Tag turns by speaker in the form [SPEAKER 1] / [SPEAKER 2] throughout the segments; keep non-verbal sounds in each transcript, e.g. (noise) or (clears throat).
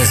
[SPEAKER 1] Ez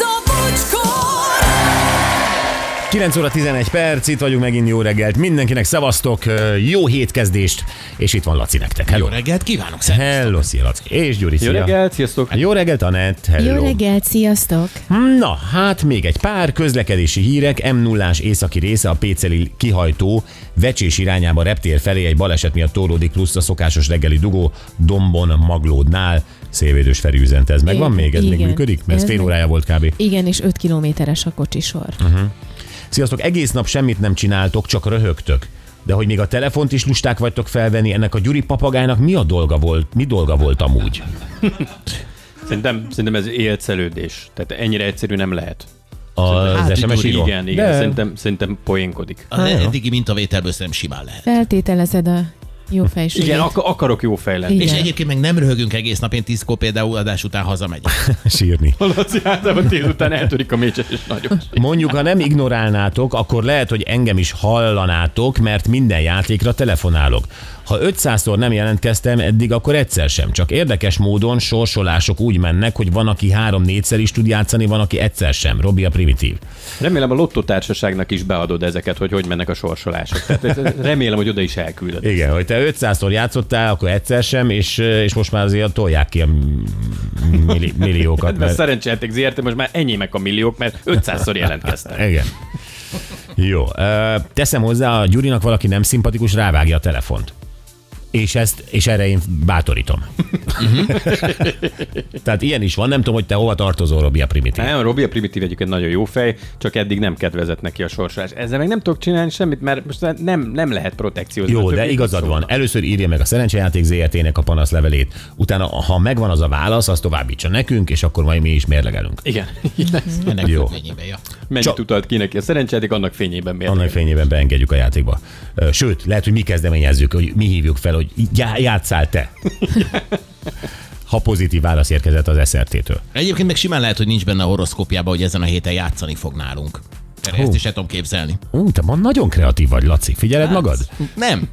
[SPEAKER 2] a bocskor!
[SPEAKER 3] 9 óra 11 perc, itt vagyunk megint jó reggelt. Mindenkinek szavaztok, jó hétkezdést, és itt van Laci nektek. Hello.
[SPEAKER 4] Jó reggelt kívánok, szervusz!
[SPEAKER 3] Hello, szia Laci. És Gyuri,
[SPEAKER 5] Jó
[SPEAKER 3] szia.
[SPEAKER 5] reggelt, sziasztok!
[SPEAKER 3] Jó reggelt, Anett. Hello.
[SPEAKER 6] Jó reggelt, sziasztok!
[SPEAKER 3] Na, hát még egy pár közlekedési hírek. m 0 északi része a Péceli kihajtó vecsés irányába reptér felé egy baleset miatt torlódik, plusz a szokásos reggeli dugó dombon maglódnál. Szélvédős Feri üzent ez. Megvan
[SPEAKER 6] Igen.
[SPEAKER 3] még? Ez még
[SPEAKER 6] Igen.
[SPEAKER 3] működik? Mert ez
[SPEAKER 6] Ez
[SPEAKER 3] fél
[SPEAKER 6] meg-
[SPEAKER 3] órája volt kb.
[SPEAKER 6] Igen, és 5 kilométeres a kocsisor.
[SPEAKER 7] Mhm.
[SPEAKER 3] Sziasztok, egész nap semmit nem csináltok, csak röhögtök. De hogy még a telefont is lusták vagytok felvenni, ennek a Gyuri papagájnak mi a dolga volt, mi dolga volt amúgy?
[SPEAKER 5] Szerintem, szerintem ez élcelődés. Tehát ennyire egyszerű nem lehet.
[SPEAKER 3] Az
[SPEAKER 4] Hát,
[SPEAKER 3] SMS
[SPEAKER 4] Gyuri,
[SPEAKER 3] író?
[SPEAKER 5] Igen, igen.
[SPEAKER 3] De-
[SPEAKER 5] Szerintem, szerintem poénkodik.
[SPEAKER 4] Az eddigi mintavételből szerintem simán lehet.
[SPEAKER 6] Feltételezed a jó
[SPEAKER 7] Mhm.
[SPEAKER 6] fejséget.
[SPEAKER 5] Igen, ak- akarok jó fejlenni.
[SPEAKER 4] És
[SPEAKER 6] Igen.
[SPEAKER 4] egyébként meg nem röhögünk egész nap, én tízkor például adás után hazamegyek.
[SPEAKER 3] (laughs) Sírni.
[SPEAKER 5] (laughs) Laci általában tíz után eltörik a mécses és nagyon.
[SPEAKER 3] Mondjuk, ha nem ignorálnátok, akkor lehet, hogy engem is hallanátok, mert minden játékra telefonálok. Ha 500-szor nem jelentkeztem eddig, akkor egyszer sem. Csak érdekes módon sorsolások úgy mennek, hogy van, aki három-négyszer is tud játszani, van, aki egyszer sem. Robi a primitív.
[SPEAKER 5] Remélem a lottótársaságnak is beadod ezeket, hogy hogy mennek a sorsolások. Tehát ez- ez- remélem, hogy oda is elküldöd.
[SPEAKER 3] Igen, hogy te 500-szor játszottál, akkor egyszer sem, és, és most már azért tolják ki a m- milli, milliókat.
[SPEAKER 5] Hát, Mert
[SPEAKER 3] Mert...
[SPEAKER 5] szerencsejáték ZRT most már enyémek a milliók, mert 500-szor jelentkeztek.
[SPEAKER 3] Igen. Jó. ö, Teszem hozzá, a Gyurinak valaki nem szimpatikus, rávágja a telefont. És, ezt, és erre én bátorítom.
[SPEAKER 5] Mhm.
[SPEAKER 3] (laughs) Tehát ilyen is van, nem tudom, hogy te hova tartozol, Robi a primitív.
[SPEAKER 5] Nem, Robi a primitív egyébként nagyon jó fej, csak eddig nem kedvezett neki a sorsolás. Ezzel meg nem tudok csinálni semmit, mert most nem, nem lehet protekciózni.
[SPEAKER 3] Jó,
[SPEAKER 5] A
[SPEAKER 3] de
[SPEAKER 5] többiek
[SPEAKER 3] igazad
[SPEAKER 5] szólnak.
[SPEAKER 3] van. Először írja meg a szerencsejáték ZRT-nek a panaszlevelét, utána, ha megvan az a válasz, azt továbbítsa nekünk, és akkor majd mi is mennyi
[SPEAKER 5] Igen. (laughs)
[SPEAKER 4] Ennek
[SPEAKER 3] (laughs) Jó.
[SPEAKER 4] Jó. függvényében, ja.
[SPEAKER 5] Mennyit
[SPEAKER 3] Csak-
[SPEAKER 5] Csak... utalt ki neki a szerencséjáték, annak fényében miért?
[SPEAKER 3] annak fényében beengedjük a játékba. Ö, Sőt, lehet, hogy mi kezdeményezzük, hogy mi hívjuk fel, hogy já- játszál (laughs) te. Ha pozitív válasz érkezett az SRT-től.
[SPEAKER 4] Egyébként meg simán lehet, hogy nincs benne a horoszkópjában, hogy ezen a héten játszani fog nálunk. Erre ezt is el tudom képzelni.
[SPEAKER 3] Ú, te ma nagyon kreatív vagy, Laci. Figyeled hát. magad?
[SPEAKER 4] Nem.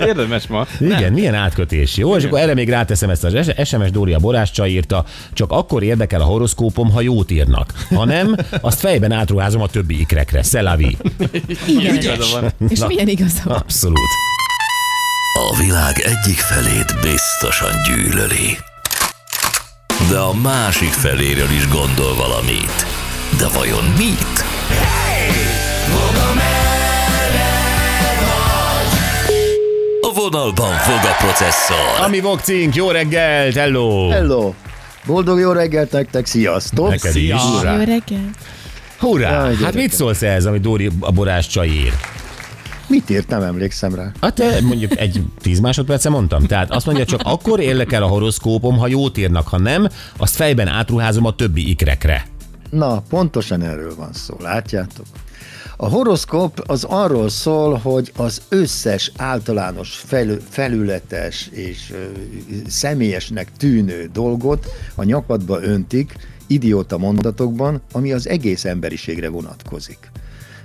[SPEAKER 5] Érdemes ma.
[SPEAKER 3] Igen, nem. milyen átkötés. Jó, és akkor erre még ráteszem ezt az S- SMS Dória Borácsa írta, csak akkor érdekel a horoszkópom, ha jót írnak. Ha nem, azt fejben átruházom a többi ikrekre. Szelavi.
[SPEAKER 6] Igen.
[SPEAKER 5] Igaza van.
[SPEAKER 6] És milyen igaza van?
[SPEAKER 3] Abszolút.
[SPEAKER 1] A világ egyik felét biztosan gyűlöli. De a másik feléről is gondol valamit. De vajon mit? A vonalban fog a processzor.
[SPEAKER 3] Ami vokcink, jó reggelt, hello!
[SPEAKER 7] Hello! Boldog jó reggelt nektek, sziasztok!
[SPEAKER 3] Neked is.
[SPEAKER 6] Jó
[SPEAKER 3] Hurrá!
[SPEAKER 6] reggelt!
[SPEAKER 3] Hurrá!
[SPEAKER 7] Jaj,
[SPEAKER 3] Hát
[SPEAKER 7] gyerekek.
[SPEAKER 3] mit szólsz ehhez, amit Dóri a borás csaj ír?
[SPEAKER 7] Mit írt, nem emlékszem rá.
[SPEAKER 3] Hát te mondjuk egy 10 másodperce mondtam. Tehát azt mondja, csak akkor érdekel a horoszkópom, ha jót írnak, ha nem, azt fejben átruházom a többi ikrekre.
[SPEAKER 7] Na, pontosan erről van szó, látjátok? A horoszkóp az arról szól, hogy az összes általános felü- felületes és ö, személyesnek tűnő dolgot a nyakadba öntik idióta mondatokban, ami az egész emberiségre vonatkozik.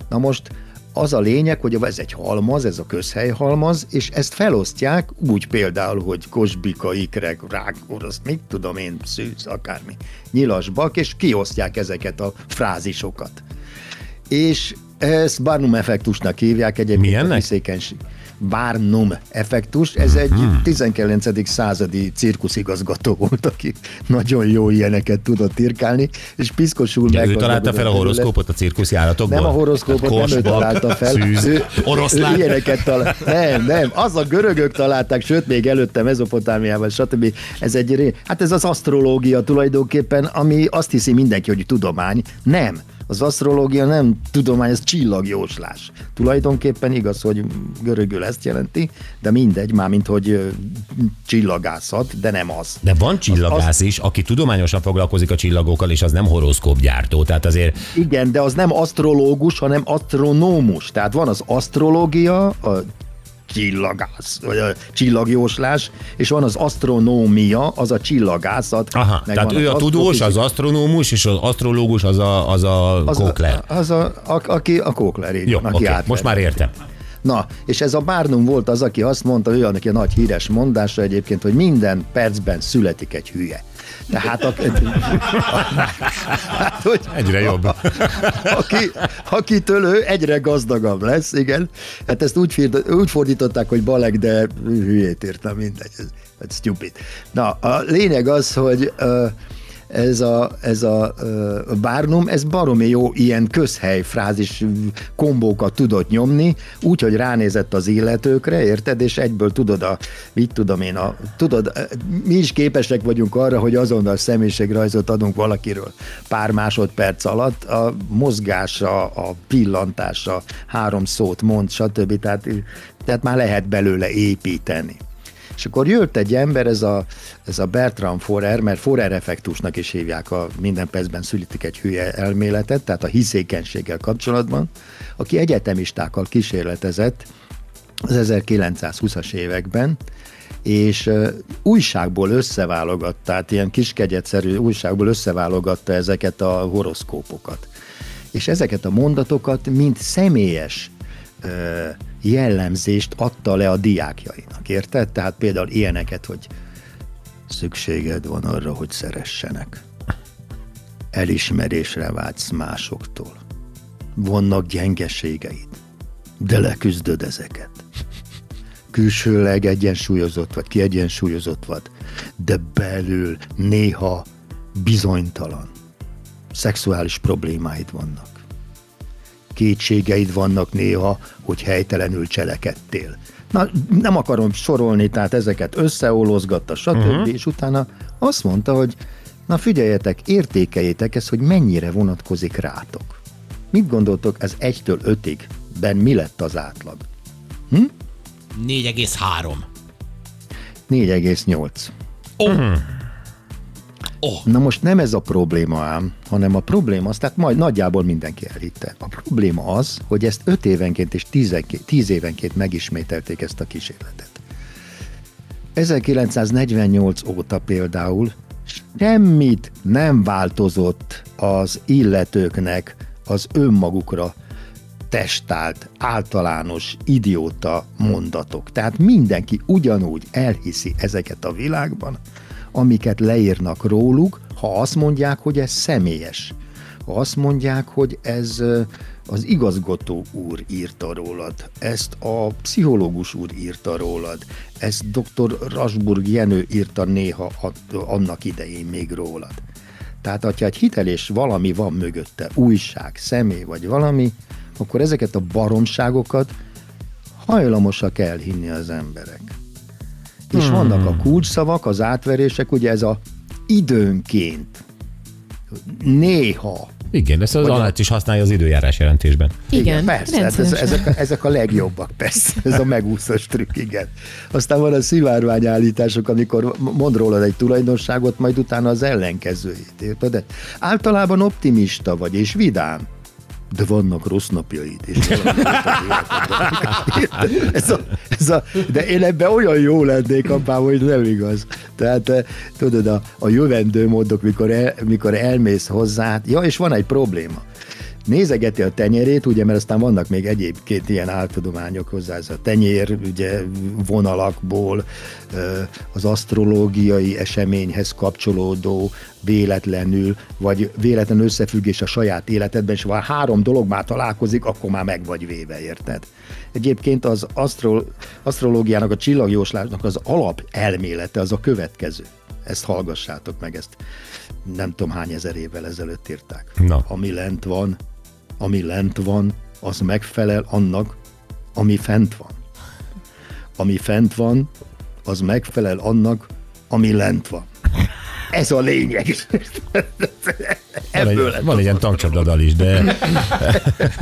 [SPEAKER 7] Na most az a lényeg, hogy ez egy halmaz, ez a közhelyhalmaz, és ezt felosztják úgy például, hogy kosbika, ikrek, rák, orosz, mit tudom én, szűz, akármi, nyilas, bak, és kiosztják ezeket a frázisokat. És ezt Barnum effektusnak hívják egyébként.
[SPEAKER 3] Milyennek?
[SPEAKER 7] a Hiszékenység. Barnum effektus, ez egy
[SPEAKER 3] Mhm.
[SPEAKER 7] 19. századi cirkuszigazgató volt, aki nagyon jó ilyeneket tudott irkálni, és piszkosul
[SPEAKER 3] Ő
[SPEAKER 7] meggazdagodott
[SPEAKER 3] találta fel a
[SPEAKER 7] tőle.
[SPEAKER 3] horoszkópot a cirkuszi állatokból?
[SPEAKER 7] Nem a horoszkópot nem ő
[SPEAKER 3] Korsbak,
[SPEAKER 7] találta fel.
[SPEAKER 3] Szűz,
[SPEAKER 7] Ő,
[SPEAKER 3] oroszlán.
[SPEAKER 7] ő ilyeneket talál. Nem, nem, az a görögök találták, sőt, még előtte Mezopotámiában, stb. Ez egy, ré- hát ez az asztrológia tulajdonképpen, ami azt hiszi mindenki, hogy tudomány. Nem. Az asztrológia nem tudomány, ez csillagjóslás. Tulajdonképpen igaz, hogy görögül ezt jelenti, de mindegy, mármint, hogy ö, csillagászat, de nem az.
[SPEAKER 3] De van csillagász is, aki tudományosan foglalkozik a csillagokkal, és az nem horoszkópgyártó. Tehát azért
[SPEAKER 7] Igen, de az nem asztrológus, hanem asztronómus. Tehát van az asztrológia, a csillagász, vagy a csillagjóslás, és van az asztronómia, az a csillagászat.
[SPEAKER 3] Aha,
[SPEAKER 7] meg
[SPEAKER 3] tehát
[SPEAKER 7] van
[SPEAKER 3] ő a tudós, az
[SPEAKER 7] asztrofizik-
[SPEAKER 3] asztronómus, és az asztrológus az a, az a
[SPEAKER 7] az
[SPEAKER 3] kokler.
[SPEAKER 7] A, az a, a, aki a Kókler, így
[SPEAKER 3] Jó,
[SPEAKER 7] van, aki
[SPEAKER 3] oké, okay.
[SPEAKER 7] átvett.
[SPEAKER 3] most már értem.
[SPEAKER 7] Na, és ez a Barnum volt az, aki azt mondta, ő annak egy nagy híres mondása egyébként, hogy minden percben születik egy hülye. Tehát a, hát, hogy
[SPEAKER 3] Egyre jobb.
[SPEAKER 7] (laughs) aki, akitől ő egyre gazdagabb lesz, igen. Hát ezt úgy, fird, úgy fordították, hogy balek, de hülyét írtam, mindegy. Ez, ez stupid. Na, a lényeg az, hogy ö, ez a, ez a ö, Barnum, ez baromi jó ilyen közhely frázis kombókat tudott nyomni, úgyhogy ránézett az illetőkre, érted, és egyből tudod a, mit tudom én, a, tudod, ö, mi is képesek vagyunk arra, hogy azonnal személyiségrajzot adunk valakiről pár másodperc alatt, a mozgása, a pillantása, három szót mond, stb. Tehát, tehát már lehet belőle építeni. És akkor jött egy ember, ez a, ez a Bertram Forer, mert Forer effektusnak is hívják a minden percben szülítik egy hülye elméletet, tehát a hiszékenységgel kapcsolatban, aki egyetemistákkal kísérletezett az 1920-as években, és ö, újságból összeválogatta, tehát ilyen kiskegyetszerű újságból összeválogatta ezeket a horoszkópokat. És ezeket a mondatokat, mint személyes ö, jellemzést adta le a diákjainak, érted? Tehát például ilyeneket, hogy szükséged van arra, hogy szeressenek. Elismerésre vágysz másoktól. Vannak gyengeségeid, de leküzdöd ezeket. Külsőleg egyensúlyozott vagy, kiegyensúlyozott vagy, de belül néha bizonytalan. Szexuális problémáid vannak kétségeid vannak néha, hogy helytelenül cselekedtél. Na, nem akarom sorolni, tehát ezeket összeolózgatta, stb., uh-huh. és utána azt mondta, hogy na figyeljetek, értékeljétek ezt, hogy mennyire vonatkozik rátok. Mit gondoltok, ez 1-től 5-ig, ben mi lett az átlag?
[SPEAKER 4] 4,3.
[SPEAKER 7] 4,8. Oh. Oh. Na most nem ez a probléma ám, hanem a probléma az, tehát majd nagyjából mindenki elhitte. A probléma az, hogy ezt 5 évenként és 10 évenként megismételték ezt a kísérletet. 1948 óta például semmit nem változott az illetőknek az önmagukra testált, általános, idióta mondatok. Tehát mindenki ugyanúgy elhiszi ezeket a világban, amiket leírnak róluk, ha azt mondják, hogy ez személyes. Ha azt mondják, hogy ez ö, az igazgató úr írta rólad, ezt a pszichológus úr írta rólad, ezt dr. Rasburg Jenő írta néha att- annak idején még rólad. Tehát, ha egy hitelés valami van mögötte, újság, személy vagy valami, akkor ezeket a baromságokat hajlamosak elhinni az emberek. És hmm. vannak a kulcsszavak, az átverések, ugye ez a időnként, néha,
[SPEAKER 3] Igen, ezt az Anett is használja az időjárás jelentésben.
[SPEAKER 6] Igen,
[SPEAKER 7] persze, hát ez,
[SPEAKER 6] rendszeresen.
[SPEAKER 7] ezek, a- ezek a legjobbak, persze, ez a megúszós trükk, igen. Aztán van a szivárványállítások, amikor mond rólad egy tulajdonságot, majd utána az ellenkezőjét, érted? De általában optimista vagy, és vidám, de vannak rossz napjaid,
[SPEAKER 6] (laughs)
[SPEAKER 7] és valami rossz az életedben. (laughs) ez a, ez a, de én ebben olyan jó lennék, apám, hogy nem igaz. Tehát eh, tudod, a, a jövendő módok, mikor, el, mikor elmész hozzá, hát- ja, és van egy probléma nézegeti a tenyerét, ugye, mert aztán vannak még egyéb két ilyen áltudományok hozzá, ez a tenyér, ugye vonalakból, ö, az asztrológiai eseményhez kapcsolódó véletlenül, vagy véletlen összefüggés a saját életedben, és ha már három dolog már találkozik, akkor már meg vagy véve, érted? Egyébként az asztro, asztrológiának, a csillagjóslásnak az alap elmélete az a következő. Ezt hallgassátok meg, ezt nem tudom hány ezer évvel ezelőtt írták
[SPEAKER 3] Na.
[SPEAKER 7] ami lent van, ami lent van, az megfelel annak, ami fent van. Ami fent van, az megfelel annak, ami lent van. Ez a lényeg.
[SPEAKER 3] Van egy, van egy ilyen tankcsapdadal is, de...
[SPEAKER 7] (laughs)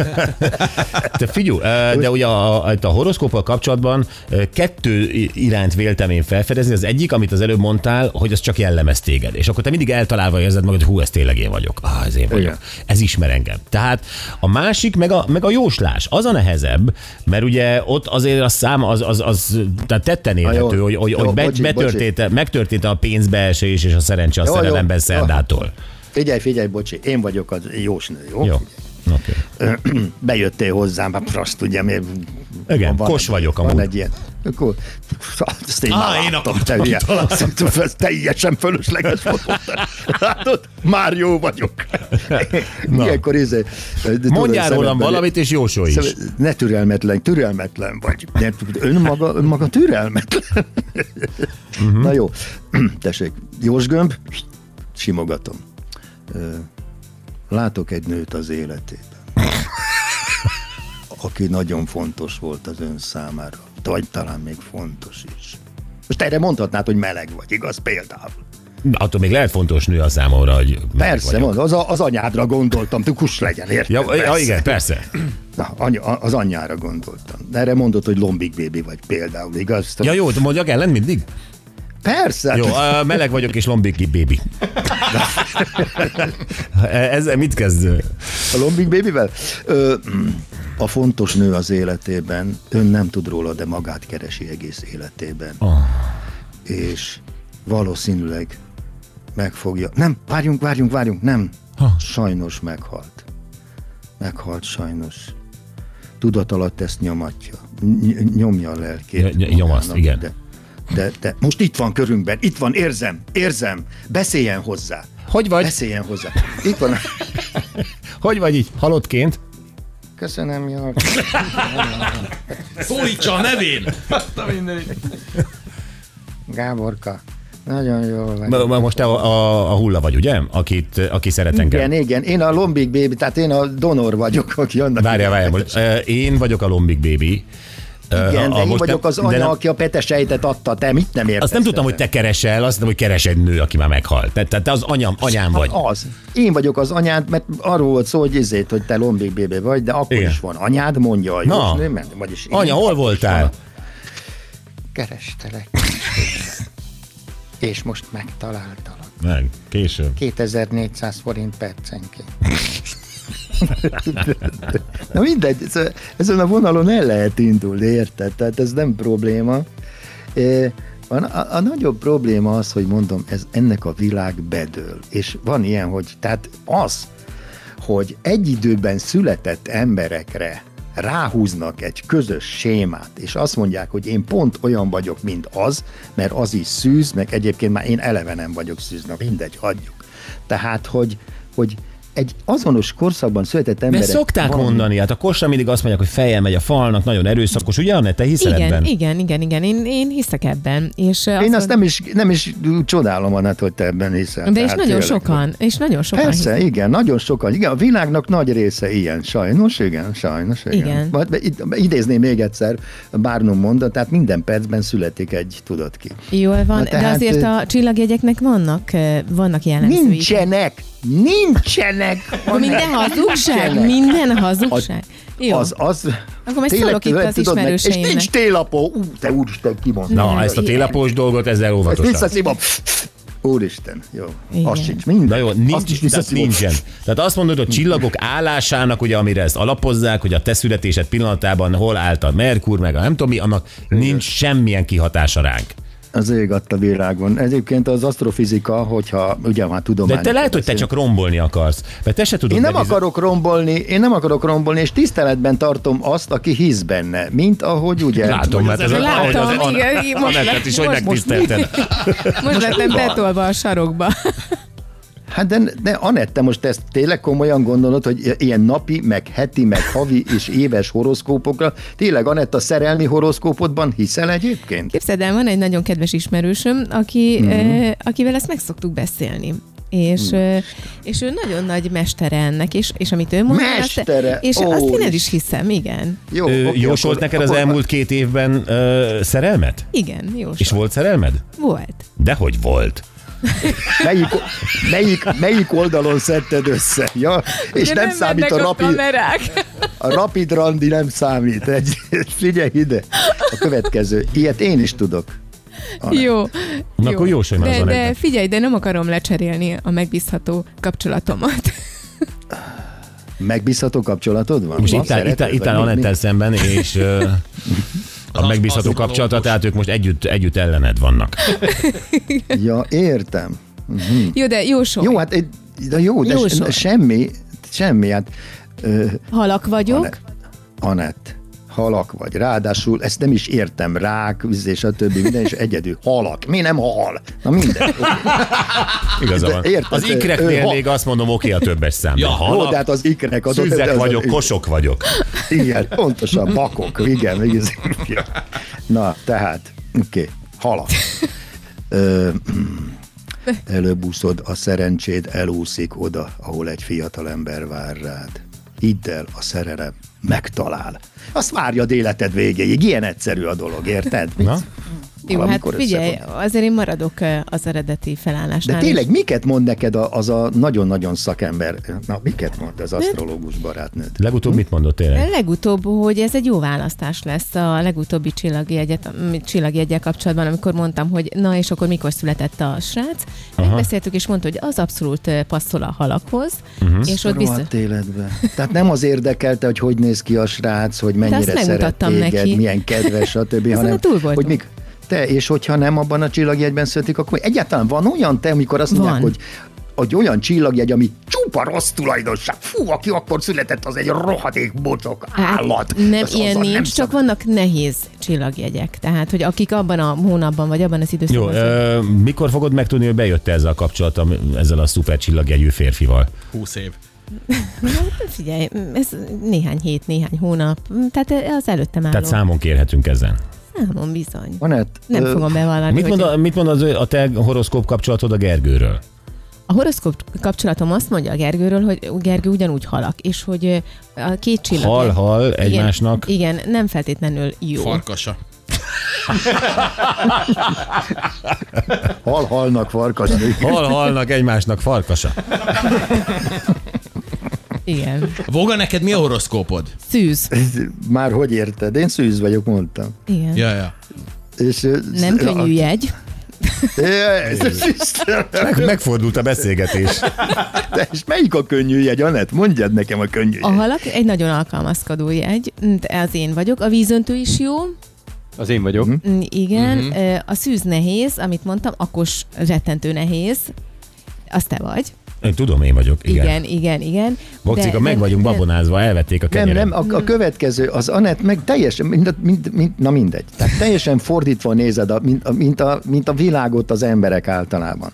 [SPEAKER 3] Te figyú, eh, de ugye a, a, itt a horoszkóppal kapcsolatban ö, kettő i- irányt véltem én felfedezni. Az egyik, amit az előbb mondtál, hogy az csak jellemez téged. És akkor te mindig eltalálva érzed magad, hogy hú, ez tényleg én vagyok. Ah, ez én vagyok.
[SPEAKER 7] Igen.
[SPEAKER 3] Ez ismer engem. Tehát a másik, meg a, meg a jóslás. Az a nehezebb, mert ugye ott azért a szám az, az, az tehát tetten érhető,
[SPEAKER 7] Ah, jó.
[SPEAKER 3] hogy, hogy,
[SPEAKER 7] Jó,
[SPEAKER 3] hogy be,
[SPEAKER 7] bocsi, bocsi.
[SPEAKER 3] betörtént, megtörtént a pénzbeesés és a szerencse a
[SPEAKER 7] Jó, jó.
[SPEAKER 3] szerelemben
[SPEAKER 7] Jó.
[SPEAKER 3] szerdától.
[SPEAKER 7] Figyelj, figyelj, bocsi, én vagyok a jósnő, jó? (clears throat)
[SPEAKER 3] Jó.
[SPEAKER 7] jó.
[SPEAKER 3] Oké. Okay.
[SPEAKER 7] Bejöttél hozzám, hát azt ugye, miért
[SPEAKER 3] Igen,
[SPEAKER 7] van
[SPEAKER 3] kos
[SPEAKER 7] egy,
[SPEAKER 3] vagyok
[SPEAKER 7] van
[SPEAKER 3] amúgy.
[SPEAKER 7] egy ilyen. Akkor, azt én
[SPEAKER 4] Ah,
[SPEAKER 7] már
[SPEAKER 4] én
[SPEAKER 7] láttam,
[SPEAKER 4] akartam,
[SPEAKER 7] te hülye.
[SPEAKER 4] talán.
[SPEAKER 7] Szerintem ez teljesen fölösleges fotót. Látod? Már jó vagyok.
[SPEAKER 3] Na.
[SPEAKER 7] Ilyenkor izé, tudod,
[SPEAKER 3] Mondjál rólam
[SPEAKER 7] szememben-
[SPEAKER 3] valamit, és jósolj is.
[SPEAKER 7] Szóval Ne türelmetlen, türelmetlen vagy. Ne, önmaga, önmaga türelmetlen.
[SPEAKER 3] Mhm.
[SPEAKER 7] Uh-huh. Na jó, tessék, Jós Gömb, simogatom. Ö, Látok egy nőt az életében, aki nagyon fontos volt az ön számára, vagy talán még fontos is. Most erre mondhatnád, hogy meleg vagy, igaz? Például.
[SPEAKER 3] Attól még lehet fontos nő a számomra, hogy meleg
[SPEAKER 7] Persze,
[SPEAKER 3] vagyok.
[SPEAKER 7] mondom, az, a- az anyádra gondoltam, tukus legyen, érted?
[SPEAKER 3] Ja, ja,
[SPEAKER 7] Persze.
[SPEAKER 3] igen, persze.
[SPEAKER 7] Na, any, a- az anyjára gondoltam. De erre mondod, hogy lombik bébi vagy például, igaz?
[SPEAKER 3] Ja, jó, mondjak ellen mindig?
[SPEAKER 7] Persze. hát
[SPEAKER 3] Jó,
[SPEAKER 7] Jó.
[SPEAKER 3] ö, meleg vagyok és lombiki bébi. (laughs) Ezzel mit kezd?
[SPEAKER 7] A lombik bébivel? Ö, mm, a fontos nő az életében, ön nem tud róla, de magát keresi egész életében.
[SPEAKER 3] Ah.
[SPEAKER 7] És valószínűleg megfogja. Nem, várjunk, várjunk, várjunk, nem.
[SPEAKER 3] Ha.
[SPEAKER 7] Sajnos meghalt. Meghalt sajnos. Tudat alatt ezt nyomatja. Ny- nyomja a lelkét.
[SPEAKER 3] Ny- ny- nyomaszt,
[SPEAKER 7] magának,
[SPEAKER 3] igen.
[SPEAKER 7] De, de, de most itt van körünkben, itt van, érzem, érzem. Beszéljen hozzá.
[SPEAKER 3] Hogy vagy?
[SPEAKER 7] Beszéljen hozzá. Itt van.
[SPEAKER 3] Hogy vagy így? Halottként?
[SPEAKER 7] Köszönöm, jó.
[SPEAKER 4] Szólítsa a nevén!
[SPEAKER 7] Gáborka. Nagyon jól vagy.
[SPEAKER 3] Ma- ma Most te a, a, a hulla vagy, ugye? Akit, aki szeret
[SPEAKER 7] Igen,
[SPEAKER 3] engem.
[SPEAKER 7] igen. Én a lombik bébi, tehát én a donor vagyok, (laughs) aki annak.
[SPEAKER 3] Várjál, várjál, most ö, én vagyok a lombik bébi. Ö,
[SPEAKER 7] Hát- Igen, de
[SPEAKER 3] a-
[SPEAKER 7] én
[SPEAKER 3] most
[SPEAKER 7] vagyok
[SPEAKER 3] nem-
[SPEAKER 7] az
[SPEAKER 3] de nem-
[SPEAKER 7] anya, aki a petesejtet adta, te mit nem értesz?
[SPEAKER 3] Azt nem tudtam, hogy te keresel, azt nem, hogy keres egy nő, aki már meghalt. Te- Tehát te az anyám, anyám vagy.
[SPEAKER 7] Az. Én vagyok az anyád, mert arról volt szó, hogy izét, hogy te lombik bébi vagy, de akkor
[SPEAKER 3] Igen.
[SPEAKER 7] is van. Anyád mondja a
[SPEAKER 3] Na.
[SPEAKER 7] jósnő, mert- vagyis én
[SPEAKER 3] Anya, hol voltál?
[SPEAKER 8] Kerestelek. És most megtaláltalak.
[SPEAKER 3] Meg, később.
[SPEAKER 8] 2400 forint percenként.
[SPEAKER 7] Na mindegy, ez- ezen a vonalon el lehet indulni, érted? Tehát ez nem probléma. Ö, A, a, a nagyobb probléma az, hogy mondom, ez ennek a világ bedől. És van ilyen, hogy tehát az, hogy egy időben született emberekre ráhúznak egy közös sémát, és azt mondják, hogy én pont olyan vagyok, mint az, mert az is szűz, meg egyébként már én eleve nem vagyok szűz, na mindegy, hagyjuk. Tehát, hogy, hogy egy azonos korszakban született
[SPEAKER 3] De
[SPEAKER 7] emberek...
[SPEAKER 3] szokták
[SPEAKER 7] valami-
[SPEAKER 3] mondani, hát a kosra mindig azt mondják, hogy fejjel megy a falnak, nagyon erőszakos, ugye, Anne, te hiszel ebben?
[SPEAKER 6] Igen, igen, igen, igen. Én, én hiszek ebben. És eh,
[SPEAKER 7] Én azt nem is, nem is csodálom, Anett, hogy te ebben hiszel.
[SPEAKER 6] De és
[SPEAKER 7] Tehát
[SPEAKER 6] nagyon
[SPEAKER 7] Hát, tényleg.
[SPEAKER 6] sokan, és nagyon sokan
[SPEAKER 7] Persze,
[SPEAKER 6] hisznek.
[SPEAKER 7] igen, nagyon sokan. Igen, a világnak nagy része ilyen, sajnos, igen, sajnos, igen.
[SPEAKER 6] Igen.
[SPEAKER 7] Majd be- id- idézném még egyszer Barnum mondatát, minden percben születik egy, tudod ki.
[SPEAKER 6] Jól van,
[SPEAKER 7] Na
[SPEAKER 6] de
[SPEAKER 7] tehát,
[SPEAKER 6] azért
[SPEAKER 7] ö,
[SPEAKER 6] a csillagjegyeknek vannak, ö, vannak jellemzői.
[SPEAKER 7] Nincsenek! Nincsenek!
[SPEAKER 6] Akkor minden hazugság,
[SPEAKER 7] Nincsenek.
[SPEAKER 6] minden hazugság. Jó.
[SPEAKER 7] Az, az,
[SPEAKER 6] Akkor majd
[SPEAKER 7] tényleg,
[SPEAKER 6] szólok itt
[SPEAKER 7] tudod,
[SPEAKER 6] az
[SPEAKER 7] tudod meg, És
[SPEAKER 6] ismerőseimnek.
[SPEAKER 7] nincs télapó! Ú, te úristen, kimondtam.
[SPEAKER 3] Na, ezt a
[SPEAKER 6] Igen.
[SPEAKER 3] télapós dolgot ezzel
[SPEAKER 7] Ezt
[SPEAKER 3] óvatosan.
[SPEAKER 7] visszaszívom. Úristen, jó.
[SPEAKER 6] Igen.
[SPEAKER 7] Az sincs minden.
[SPEAKER 3] Na jó,
[SPEAKER 7] Azt is
[SPEAKER 3] nincs, tehát
[SPEAKER 7] visszaszívom.
[SPEAKER 3] nincsen. Tehát azt mondod, hogy a csillagok állásának, ugye, amire ezt alapozzák, hogy a te születésed pillanatában hol állt a Merkur, meg a nem tudom mi, annak nincs semmilyen kihatása ránk.
[SPEAKER 7] Az ég adta világon. Egyébként az asztrofizika, hogyha ugye már tudom.
[SPEAKER 3] De te lehet, hogy te csak rombolni akarsz. Mert te se tudod
[SPEAKER 7] Én nem
[SPEAKER 3] megbízni-
[SPEAKER 7] akarok rombolni, én nem akarok rombolni, és tiszteletben tartom azt, aki hisz benne, mint ahogy ugye...
[SPEAKER 3] Látom, mert ez
[SPEAKER 6] Látom,
[SPEAKER 3] ahogy az
[SPEAKER 6] igen,
[SPEAKER 3] An-
[SPEAKER 6] igen, most
[SPEAKER 3] Anettet is, hogy
[SPEAKER 6] most-
[SPEAKER 3] megtisztelted.
[SPEAKER 6] Most lettem betolva a sarokba.
[SPEAKER 7] Hát de, de Anett, te most ezt tényleg komolyan gondolod, hogy i- ilyen napi, meg heti, meg havi és éves horoszkópokra, tényleg Anett a szerelmi horoszkópodban hiszel egyébként?
[SPEAKER 6] Képzeld el, van egy nagyon kedves ismerősöm, aki,
[SPEAKER 7] Mhm.
[SPEAKER 6] mm-hmm. akivel ezt meg szoktuk beszélni. És, ö, és ő nagyon nagy mestere ennek, és, és amit ő mond,
[SPEAKER 7] Mestere!
[SPEAKER 6] Azt, és azt én el is
[SPEAKER 7] Ó,
[SPEAKER 6] hiszem, igen.
[SPEAKER 7] (laughs) Jó,
[SPEAKER 3] Ö,
[SPEAKER 7] oké,
[SPEAKER 3] Jósolt
[SPEAKER 7] akkor-
[SPEAKER 3] neked az
[SPEAKER 7] akkor-
[SPEAKER 3] elmúlt két évben ö, szerelmet?
[SPEAKER 6] Igen, jó.
[SPEAKER 3] És volt szerelmed?
[SPEAKER 6] Volt.
[SPEAKER 3] Dehogy volt.
[SPEAKER 7] Melyik, melyik, melyik oldalon szedted össze? Ja, és nem, nem számít a rapid,
[SPEAKER 6] kamerák.
[SPEAKER 7] A rapid randi nem számít. Egy, figyelj ide. A következő. Ilyet én is tudok. Ah,
[SPEAKER 6] Jó.
[SPEAKER 3] Na akkor jósolj már
[SPEAKER 6] de,
[SPEAKER 3] azon
[SPEAKER 6] de
[SPEAKER 3] egyet.
[SPEAKER 6] figyelj, de nem akarom lecserélni a megbízható kapcsolatomat.
[SPEAKER 7] Megbízható kapcsolatod van?
[SPEAKER 3] Most
[SPEAKER 7] Van
[SPEAKER 3] itt áll, itt áll,
[SPEAKER 7] szereted,
[SPEAKER 3] itt
[SPEAKER 7] vagy
[SPEAKER 3] áll
[SPEAKER 7] mi- mi?
[SPEAKER 3] Anettel szemben, és ö, a
[SPEAKER 4] Az-
[SPEAKER 3] megbízható
[SPEAKER 4] az
[SPEAKER 3] kapcsolata,
[SPEAKER 4] lombos.
[SPEAKER 3] tehát ők most együtt, együtt ellened vannak.
[SPEAKER 7] Ja, értem.
[SPEAKER 6] Jó, de jósolj.
[SPEAKER 7] Hm. Jó, hát egy- de jó, de
[SPEAKER 6] Jó
[SPEAKER 7] se-
[SPEAKER 6] sor.
[SPEAKER 7] semmi, semmi, hát ö,
[SPEAKER 6] Halak vagyok.
[SPEAKER 7] Anett, halak vagy. Ráadásul ezt nem is értem, rák, víz és a többi, minden is egyedül. Halak. Mi nem hal? Na minden.
[SPEAKER 3] Igaza
[SPEAKER 7] De
[SPEAKER 3] van.
[SPEAKER 7] érted,
[SPEAKER 3] Az
[SPEAKER 7] ő-
[SPEAKER 3] ikreknél
[SPEAKER 7] ő ha-
[SPEAKER 3] még azt mondom, oké a többes szám. Ja,
[SPEAKER 7] Jó, de hát az ikrek adott.
[SPEAKER 3] Szűzek
[SPEAKER 7] az-
[SPEAKER 3] vagyok, kosok vagyok.
[SPEAKER 7] Igen, pontosan, bakok, igen, még ez- ja. Na, tehát, oké, okay, halak. Ö, előbúszod, a szerencséd elúszik oda, ahol egy fiatalember vár rád. Hidd el, a szerelem megtalál. Azt várjad életed végéig, ilyen egyszerű a dolog, érted?
[SPEAKER 3] Na?
[SPEAKER 6] Jó, hát
[SPEAKER 7] Valamikor
[SPEAKER 6] figyelj,
[SPEAKER 7] összefog.
[SPEAKER 6] azért én maradok ö, az eredeti
[SPEAKER 7] De
[SPEAKER 6] felállásnál.
[SPEAKER 7] tényleg
[SPEAKER 6] is.
[SPEAKER 7] miket mond neked a- az a nagyon-nagyon szakember? Na, miket mond az asztrológus barátnőd?
[SPEAKER 3] Legutóbb mit mondott tényleg?
[SPEAKER 6] Legutóbb, hogy ez egy jó választás lesz a legutóbbi csillagjegyet, m, csillagjegyel kapcsolatban, amikor mondtam, hogy na és akkor mikor született a srác. Megbeszéltük és mondta, hogy az abszolút ö, passzol a halakhoz,
[SPEAKER 3] Mhm.
[SPEAKER 6] uh-huh. és ott biztos...
[SPEAKER 7] Rohadt életbe. Tehát nem az érdekelte, hogy hogy néz ki a srác, hogy
[SPEAKER 6] azt
[SPEAKER 7] mennyire szeret
[SPEAKER 6] megmutattam
[SPEAKER 7] téged,
[SPEAKER 6] neki.
[SPEAKER 7] milyen kedves, stb.
[SPEAKER 6] Azon
[SPEAKER 7] hanem,
[SPEAKER 6] túl voltunk.
[SPEAKER 7] hogy mik, te, és hogyha nem abban a csillagjegyben születik, akkor egyáltalán van olyan te, amikor azt mondják,
[SPEAKER 6] Van.
[SPEAKER 7] hogy hogy olyan csillagjegy, ami csupa rossz tulajdonság. Fú, aki akkor született, az egy rohadék bocsok,
[SPEAKER 6] Hát
[SPEAKER 7] állat.
[SPEAKER 6] Nem,
[SPEAKER 7] Az-
[SPEAKER 6] ilyen
[SPEAKER 7] azzal
[SPEAKER 6] nincs,
[SPEAKER 7] nem
[SPEAKER 6] csak vannak nehéz csillagjegyek. Tehát, hogy akik abban a hónapban, vagy abban az
[SPEAKER 3] Jó,
[SPEAKER 6] időszakban...
[SPEAKER 3] ö, mikor fogod megtudni, hogy bejött ezzel a kapcsolatom, ezzel a szuper csillagjegyű férfival?
[SPEAKER 4] 20 év.
[SPEAKER 6] Hát Figyelj, ez néhány hét, néhány hónap, tehát az előttem álló
[SPEAKER 3] Tehát számon kérhetünk ezen.
[SPEAKER 6] számom bizony.
[SPEAKER 7] Van -e,
[SPEAKER 6] Nem fogom bevallani,
[SPEAKER 3] Mit mond,
[SPEAKER 6] hogy
[SPEAKER 3] a, mit mond az, a te horoszkóp kapcsolatod a Gergőről?
[SPEAKER 6] a horoszkóp kapcsolatom azt mondja a Gergőről, hogy Gergő ugyanúgy halak, és hogy ö, a két csillag...
[SPEAKER 3] Hal-hal egymásnak.
[SPEAKER 6] Igen, igen, nem feltétlenül jó.
[SPEAKER 4] Farkasa.
[SPEAKER 7] Hal-halnak farkas.
[SPEAKER 6] (laughs)
[SPEAKER 3] Hal-halnak egymásnak farkasa.
[SPEAKER 6] Igen.
[SPEAKER 4] Voga, neked mi a horoszkópod?
[SPEAKER 6] Szűz.
[SPEAKER 7] Már hogy érted? Én szűz vagyok, mondtam.
[SPEAKER 6] Igen.
[SPEAKER 4] Ja, ja.
[SPEAKER 7] És, ö,
[SPEAKER 6] Nem
[SPEAKER 7] a-
[SPEAKER 6] könnyű jegy.
[SPEAKER 7] Ez- Istenem.
[SPEAKER 3] Meg, megfordult a beszélgetés.
[SPEAKER 7] De és melyik a könnyű jegy, Anett? Mondjad nekem a könnyű
[SPEAKER 6] A
[SPEAKER 7] jegy.
[SPEAKER 6] halak egy nagyon alkalmazkodó jegy, de az én vagyok. A vízöntő is jó,
[SPEAKER 5] Az én vagyok.
[SPEAKER 3] Mhm.
[SPEAKER 6] Mm, igen. Ö, A szűz nehéz, amit mondtam, akos rettentő nehéz. Az te vagy.
[SPEAKER 3] Én tudom, én vagyok. Igen. igen.
[SPEAKER 6] Igen, igen, igen.
[SPEAKER 3] Bokcika,
[SPEAKER 6] De-
[SPEAKER 3] meg
[SPEAKER 6] de-
[SPEAKER 3] vagyunk
[SPEAKER 6] de-
[SPEAKER 3] babonázva, elvették a
[SPEAKER 7] Nem,
[SPEAKER 3] kenyeret.
[SPEAKER 7] nem, a, a következő, az Anett meg teljesen, mind, mind, mind, na mindegy, tehát teljesen fordítva nézed, a, mint, a, mint, a, mint a világot az emberek általában.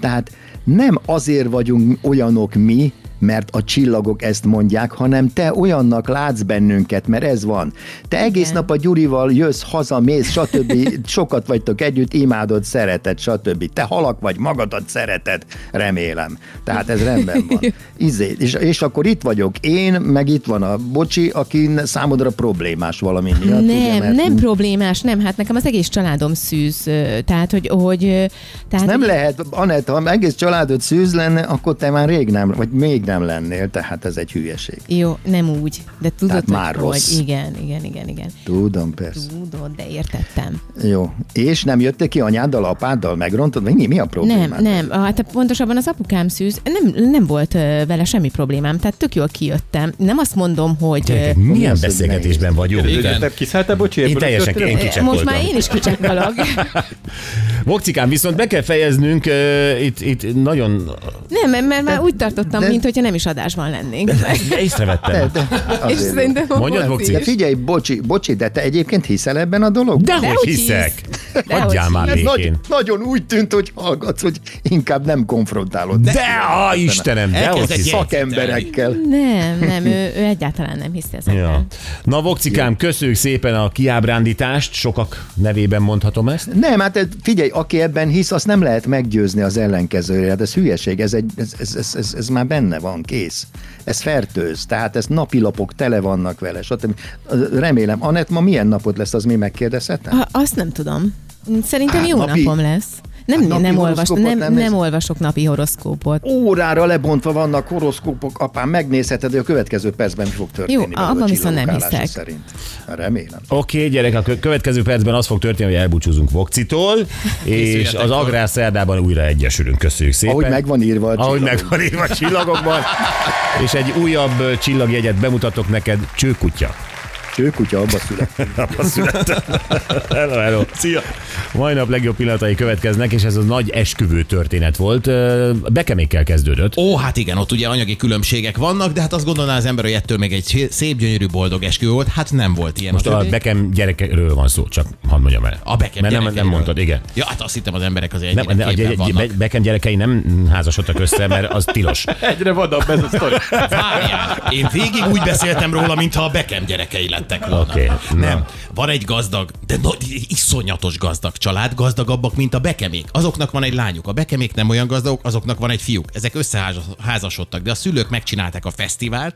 [SPEAKER 7] Tehát nem azért vagyunk olyanok mi, mert a csillagok ezt mondják, hanem te olyannak látsz bennünket, mert ez van. Te egész
[SPEAKER 6] Igen.
[SPEAKER 7] nap a Gyurival jössz, haza, mész,
[SPEAKER 6] (laughs)
[SPEAKER 7] stb. Sokat vagytok együtt, imádod, szereted, stb. Te halak vagy, magadat szereted, remélem. Tehát ez rendben
[SPEAKER 6] (laughs)
[SPEAKER 7] van. Izé, és, és akkor itt vagyok én, meg itt van a bocsi, aki számodra problémás valami miatt. Hát ugye,
[SPEAKER 6] Nem,
[SPEAKER 7] mert
[SPEAKER 6] nem problémás, nem. Hát nekem az egész családom szűz. ö, Tehát, hogy... hogy ö, tehát
[SPEAKER 7] Nem lehet, Anett, ha egész családod szűz lenne, akkor te már rég nem, vagy még nem lennél, tehát ez egy hülyeség.
[SPEAKER 6] Jó, nem úgy. De tudod,
[SPEAKER 7] Tehát
[SPEAKER 6] hogy
[SPEAKER 7] már
[SPEAKER 6] hogy,
[SPEAKER 7] rossz.
[SPEAKER 6] Igen, igen, igen, igen.
[SPEAKER 7] Tudom, persze.
[SPEAKER 6] Tudod, de értettem.
[SPEAKER 7] Jó. És nem jöttek ki anyáddal, apáddal, megrontod? Mi, mi a probléma?
[SPEAKER 6] Nem, nem, hát pontosabban az apukám szűz, nem, nem volt ö, vele semmi problémám, tehát tök jól kijöttem. Nem azt mondom, hogy... ö,
[SPEAKER 3] Gyerekek, milyen beszélgetésben vagyunk?
[SPEAKER 4] Igen.
[SPEAKER 5] Kiszálltál, bocsi, ebből
[SPEAKER 3] Én
[SPEAKER 5] a
[SPEAKER 3] teljesen, én
[SPEAKER 5] történetből?
[SPEAKER 3] kicsekkoltam.
[SPEAKER 6] Most már én is
[SPEAKER 7] (laughs)
[SPEAKER 6] kicsekkalak.
[SPEAKER 3] Vokcikám, viszont be kell fejeznünk, ö, itt, itt nagyon...
[SPEAKER 6] Nem, mert- mert már úgy tartottam,
[SPEAKER 7] de-
[SPEAKER 6] mint hogyha nem is adásban lennénk.
[SPEAKER 3] De észrevettem.
[SPEAKER 7] De,
[SPEAKER 6] És
[SPEAKER 7] azért jó.
[SPEAKER 6] szerintem
[SPEAKER 3] Mondjad,
[SPEAKER 6] volt
[SPEAKER 3] Vokci.
[SPEAKER 6] is.
[SPEAKER 7] de figyelj, bocsi, bocsi, de te egyébként hiszel ebben a dologban?
[SPEAKER 3] Dehogy
[SPEAKER 6] Dehogy
[SPEAKER 3] hiszek!
[SPEAKER 6] hisz. Dehogy
[SPEAKER 3] Hagyjál már
[SPEAKER 6] hisz.
[SPEAKER 3] békén!
[SPEAKER 7] nagyon úgy tűnt, hogy hallgatsz, hogy inkább nem konfrontálod.
[SPEAKER 3] De a Istenem, dehogy
[SPEAKER 4] Elkezdett
[SPEAKER 3] hiszek!
[SPEAKER 4] jegyzetelni.
[SPEAKER 7] Szakemberekkel.
[SPEAKER 6] Nem, nem, ő, ő egyáltalán nem hiszi ezekben.
[SPEAKER 3] Ja. Na, Vokcikám, köszönjük szépen a kiábrándítást, sokak nevében mondhatom ezt.
[SPEAKER 7] Nem, hát ez- figyelj, aki ebben hisz, azt nem lehet meggyőzni az ellenkezőre. Hát ez hülyeség, ez, egy, ez, ez, ez, ez, ez már benne van, kész. Ez fertőz, tehát ez napilapok tele vannak vele, stb. Remélem, Anett, ma milyen napod lesz, az mi megkérdezhetem?
[SPEAKER 6] Ha, azt nem tudom. Szerintem
[SPEAKER 7] Hát,
[SPEAKER 6] jó
[SPEAKER 7] napi-
[SPEAKER 6] napom lesz.
[SPEAKER 7] Hát,
[SPEAKER 6] Nem,
[SPEAKER 7] napi
[SPEAKER 6] nem, olvas,
[SPEAKER 7] horoszkópot
[SPEAKER 6] nem,
[SPEAKER 7] nem
[SPEAKER 6] nem,
[SPEAKER 7] néz-
[SPEAKER 6] olvasok napi horoszkópot.
[SPEAKER 7] órára lebontva vannak horoszkópok, apám, megnézheted, hogy a következő percben mi fog történni.
[SPEAKER 6] Jó,
[SPEAKER 7] veled a
[SPEAKER 6] abban viszont nem
[SPEAKER 7] csillagok állása
[SPEAKER 6] hiszek.
[SPEAKER 7] Szerint. Remélem.
[SPEAKER 3] Oké, okay, gyerek, a kö- következő percben az fog történni, hogy elbúcsúzunk Vokcitól, és az Agrár szerdában újra egyesülünk. Köszönjük szépen.
[SPEAKER 7] Ahogy megvan írva a
[SPEAKER 3] Ahogy
[SPEAKER 7] csillagok.
[SPEAKER 3] megvan írva a csillagokban. és egy újabb ö, csillagjegyet bemutatok neked, csőkutya.
[SPEAKER 7] Kőkutya abba született.
[SPEAKER 3] Abba születtem. hello, hello. Szia. Mai nap legjobb pillanatai következnek, és ez a nagy esküvő történet volt. Ö, Bekemékkel kezdődött.
[SPEAKER 4] Ó, hát igen, ott ugye anyagi különbségek vannak, de hát azt gondolná az ember, hogy ettől még egy szé- szép, gyönyörű, boldog esküvő volt. Hát nem volt ilyen.
[SPEAKER 3] Most
[SPEAKER 4] a,
[SPEAKER 3] a
[SPEAKER 4] többi.
[SPEAKER 3] Bekem gyerekről van szó, csak hadd mondjam el.
[SPEAKER 4] a Beckham
[SPEAKER 3] Mert nem, nem
[SPEAKER 4] gyerekeiről.
[SPEAKER 3] mondtad, igen.
[SPEAKER 4] Ja, hát azt hittem az emberek azért
[SPEAKER 3] Nem,
[SPEAKER 4] ennyire
[SPEAKER 3] a
[SPEAKER 4] képben
[SPEAKER 3] gy- gy-
[SPEAKER 4] vannak.
[SPEAKER 3] Be- Beckham gyerekei nem házasodtak össze, mert az tilos.
[SPEAKER 5] Egyre vadabb ez a sztori.
[SPEAKER 4] Várjál, én végig úgy beszéltem róla, mintha a Beckham gyerekei lettek volna.
[SPEAKER 3] Oké, hát na.
[SPEAKER 4] nem. Van egy gazdag, de no, iszonyatos gazdag család, gazdagabbak, mint a Bekemék. Azoknak van egy lányuk, a Bekemék nem olyan gazdagok, azoknak van egy fiúk. Ezek összeházasodtak, de a szülők megcsinálták a fesztivált,